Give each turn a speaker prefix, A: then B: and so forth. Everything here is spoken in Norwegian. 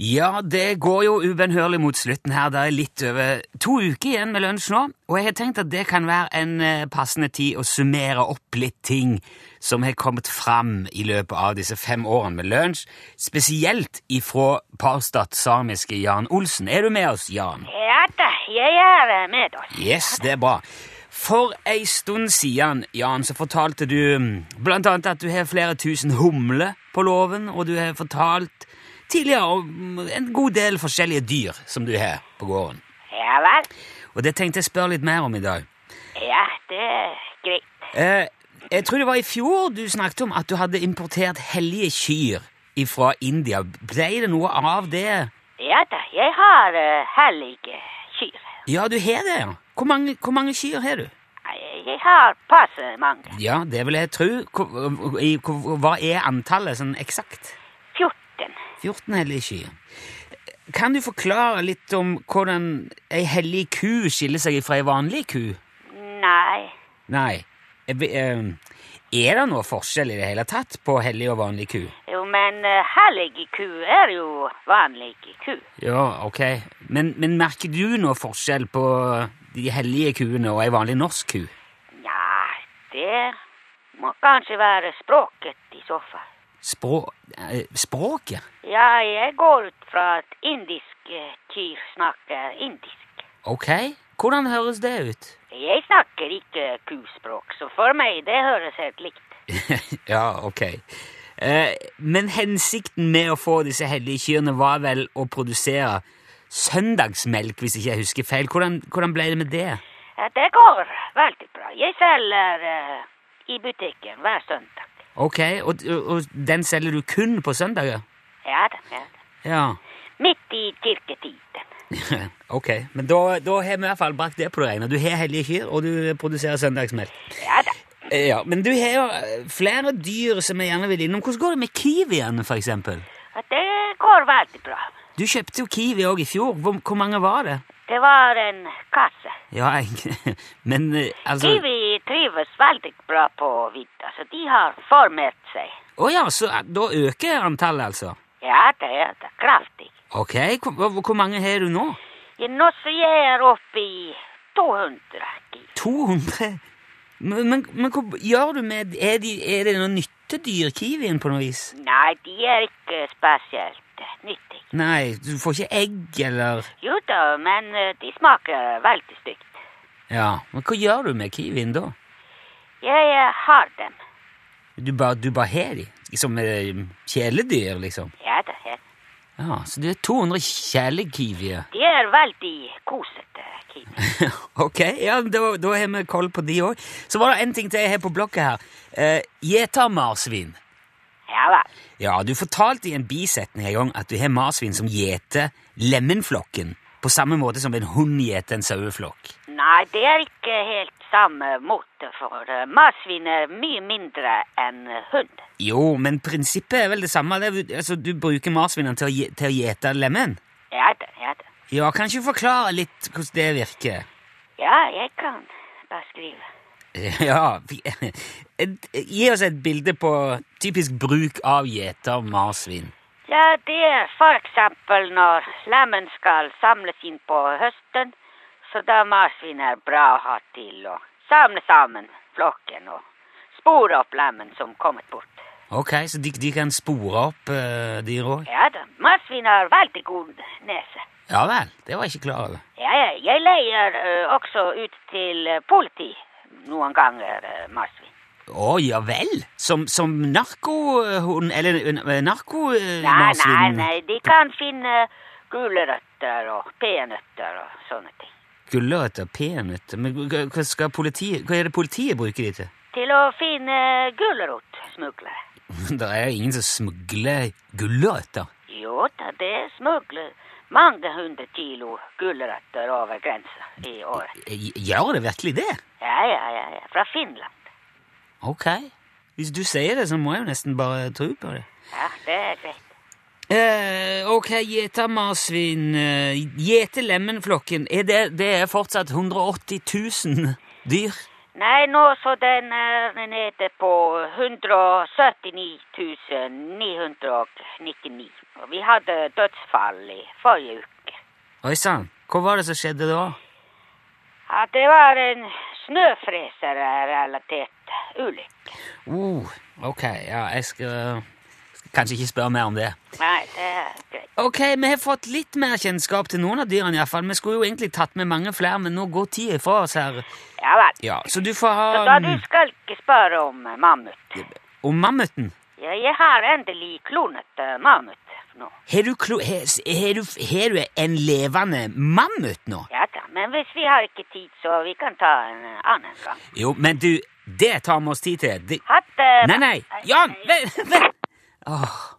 A: Ja, det går jo ubønnhørlig mot slutten her. Det er litt over to uker igjen med lunsj nå, og jeg har tenkt at det kan være en eh, passende tid å summere opp litt ting som har kommet fram i løpet av disse fem årene med lunsj, spesielt ifra Parstad samiske Jan Olsen. Er du med oss, Jan?
B: Ja da, jeg er med oss.
A: Yes, det er bra. For ei stund siden, Jan, så fortalte du mm, blant annet at du har flere tusen humler på låven, og du har fortalt tidligere om mm, en god del forskjellige dyr som du har på gården.
B: Ja vel?
A: Og det tenkte jeg spørre litt mer om i dag.
B: Ja, det er greit.
A: Eh, jeg tror det var i fjor du snakket om at du hadde importert hellige kyr fra India. Ble det noe av det?
B: Ja da, jeg har uh, hellige kyr.
A: Ja, du har det, ja. Hvor mange, hvor mange kyr har du?
B: Jeg jeg har passe mange.
A: Ja, det vil jeg tro. Hvor- i- hvor- Hva er antallet sånn eksakt?
B: 14.
A: 14 hellige kyr. Kan du forklare litt om hvordan ei hellig ku skiller seg fra ei vanlig ku?
B: Nei.
A: Nei. Eh, vi- eh, Er det noe forskjell i det hele tatt på hellig og vanlig ku?
B: Jo, men uh, hellige ku er jo vanlige ku.
A: Ja, ok. Men, men merker du noe forskjell på de hellige kuene og ei vanlig norsk ku?
B: Ja, det må kanskje være språket i så fall.
A: Språ, eh, språket?
B: Ja, jeg går ut fra at indiske kyr snakker indisk.
A: Ok. Hvordan høres det ut?
B: Jeg snakker ikke kuspråk, så for meg det høres helt likt.
A: ja, ok. Eh, men hensikten med å få disse hellige kyrne var vel å produsere søndagsmelk, hvis ikke jeg husker feil. Hvordan, hvordan ble det med det?
B: Ja, Äh, Det går veldig bra. Jeg selger eh, i butikken hver søndag.
A: Ok, og, og, og den selger du kun på søndager?
B: Ja da, ja da.
A: Ja.
B: Midt i kirketiden.
A: ok, men da, da har vi i hvert fall brakt det på det rene. Du har hellige kyr, og du produserer søndagsmelk.
B: Ja da.
A: Eh, ja, men du har jo eh, flere dyr som jeg gjerne vil innom. Hvordan går det med kiwiene, for eksempel?
B: Ja, Det går veldig bra.
A: Du kjøpte jo kiwi òg i fjor. Hvor, hvor mange var det?
B: Det var en kasse.
A: Ja, jeg, men eh, altså
B: Kiwi trives veldig bra på vidda, så de har formert seg.
A: Å ja, så eh, da øker antallet, altså?
B: Ja da, ja da. Kraftig.
A: Ok, hvor, hvor- hvor mange har du nå?
B: Ja, Nå så jeg er oppe i 200 kiwi.
A: 200? Men, men, men hva gjør du med Er, de, er det noe nyttedyr, kiwien, på noe vis?
B: Nei, de er ikke spesielt nyttige.
A: Nei, du får ikke egg, eller
B: Jo da, men eh, de smaker veldig stygt.
A: Ja, men hva gjør du med kiwien da?
B: Jeg eh, har dem.
A: Du bare, du bare har de? Som eh, kjæledyr, liksom?
B: Ja da, ja.
A: Ja, så du er 200 kjælekiwier.
B: De er veldig kosete, Kine.
A: ok, ja, da, da har vi koll på de òg. Så var det en ting til jeg har på blokka her. Eh, Gjetermarsvin.
B: Ja vel.
A: Ja, du fortalte i en bisetning en gang at du har marsvin som gjeter lemenflokken, på samme måte som en hund gjeter en saueflokk.
B: Nei, det er ikke helt samme måte, for eh, marsvin er mye mindre enn eh, hund.
A: Jo, men prinsippet er vel det samme. Det, er- altså, du bruker marsvinene til, å gje- til å gjete lemen.
B: Ja da, ja da.
A: Ja, kan ikke du forklare litt hvordan det virker?
B: Ja, jeg kan beskrive.
A: Ja, vi- et- Gi oss et bilde på typisk bruk av gjetermarsvin.
B: Ja, det er for eksempel når lemmen skal samles inn på høsten, så da marsvin er bra å ha til å samle sammen flokken og spore opp lemmen som kommet bort.
A: Ok, så de, de kan spore opp uh, dyr òg?
B: Ja da, marsvin har veldig god nese.
A: Ja vel, det var jeg ikke klar over.
B: Ja, ja, jeg leier ø, også ut til ø, politi noen ganger, ø, marsvin.
A: Å, ja vel? Som, som narkohund Eller eh, narkomarsvin?
B: Nei, nei, nei, de kan finne gulrøtter og peanøtter og sånne ting.
A: Gulrøtter, peanøtter Men hva hva skal politiet, hva er det politiet bruker de til?
B: Til å finne gulrotsmuglere.
A: Det er jo ingen som smugler gulrøtter.
B: Jo da, det smugler mange hundre kilo gulrøtter over grensa i året.
A: Eh, Gjør det virkelig det?
B: Ja, ja, ja, ja, fra Finland.
A: Ok. Hvis du sier det, så må jeg jo nesten bare tro på det.
B: Ja, det er greit.
A: Eh, ok, gjetamarsvin eh, Gjetelemenflokken, er det, det er fortsatt 180 000 dyr?
B: Nei, nå så den er nede på 179 999. Og vi hadde dødsfall i forrige uke.
A: Oi sann, hva var det som skjedde da?
B: Ja, det var en snøfreserrelatert ulykke.
A: Oh, ok, ja, jeg skal, skal kanskje ikke spørre mer om det.
B: Nei, det er greit.
A: Ok, vi har fått litt mer kjennskap til noen av dyrene iallfall. Vi skulle jo egentlig tatt med mange flere, men nå går tida fra oss her.
B: Ja vel.
A: Ja, Så du får
B: Så da
A: ha
B: du skal ikke spørre om eh, mammut.
A: um, Om mammuten?
B: Ja, jeg har endelig klonet eh, mammut nå.
A: Har du, klo, har, har, du, har du en levende mammut nå?
B: Ja da, men hvis vi har ikke tid, så vi kan ta en eh, annen gang.
A: Jo, men du, det tar vi oss tid til. Det,
B: Hatt eh,
A: nei, nei, Jan! Vent! vent. Åh,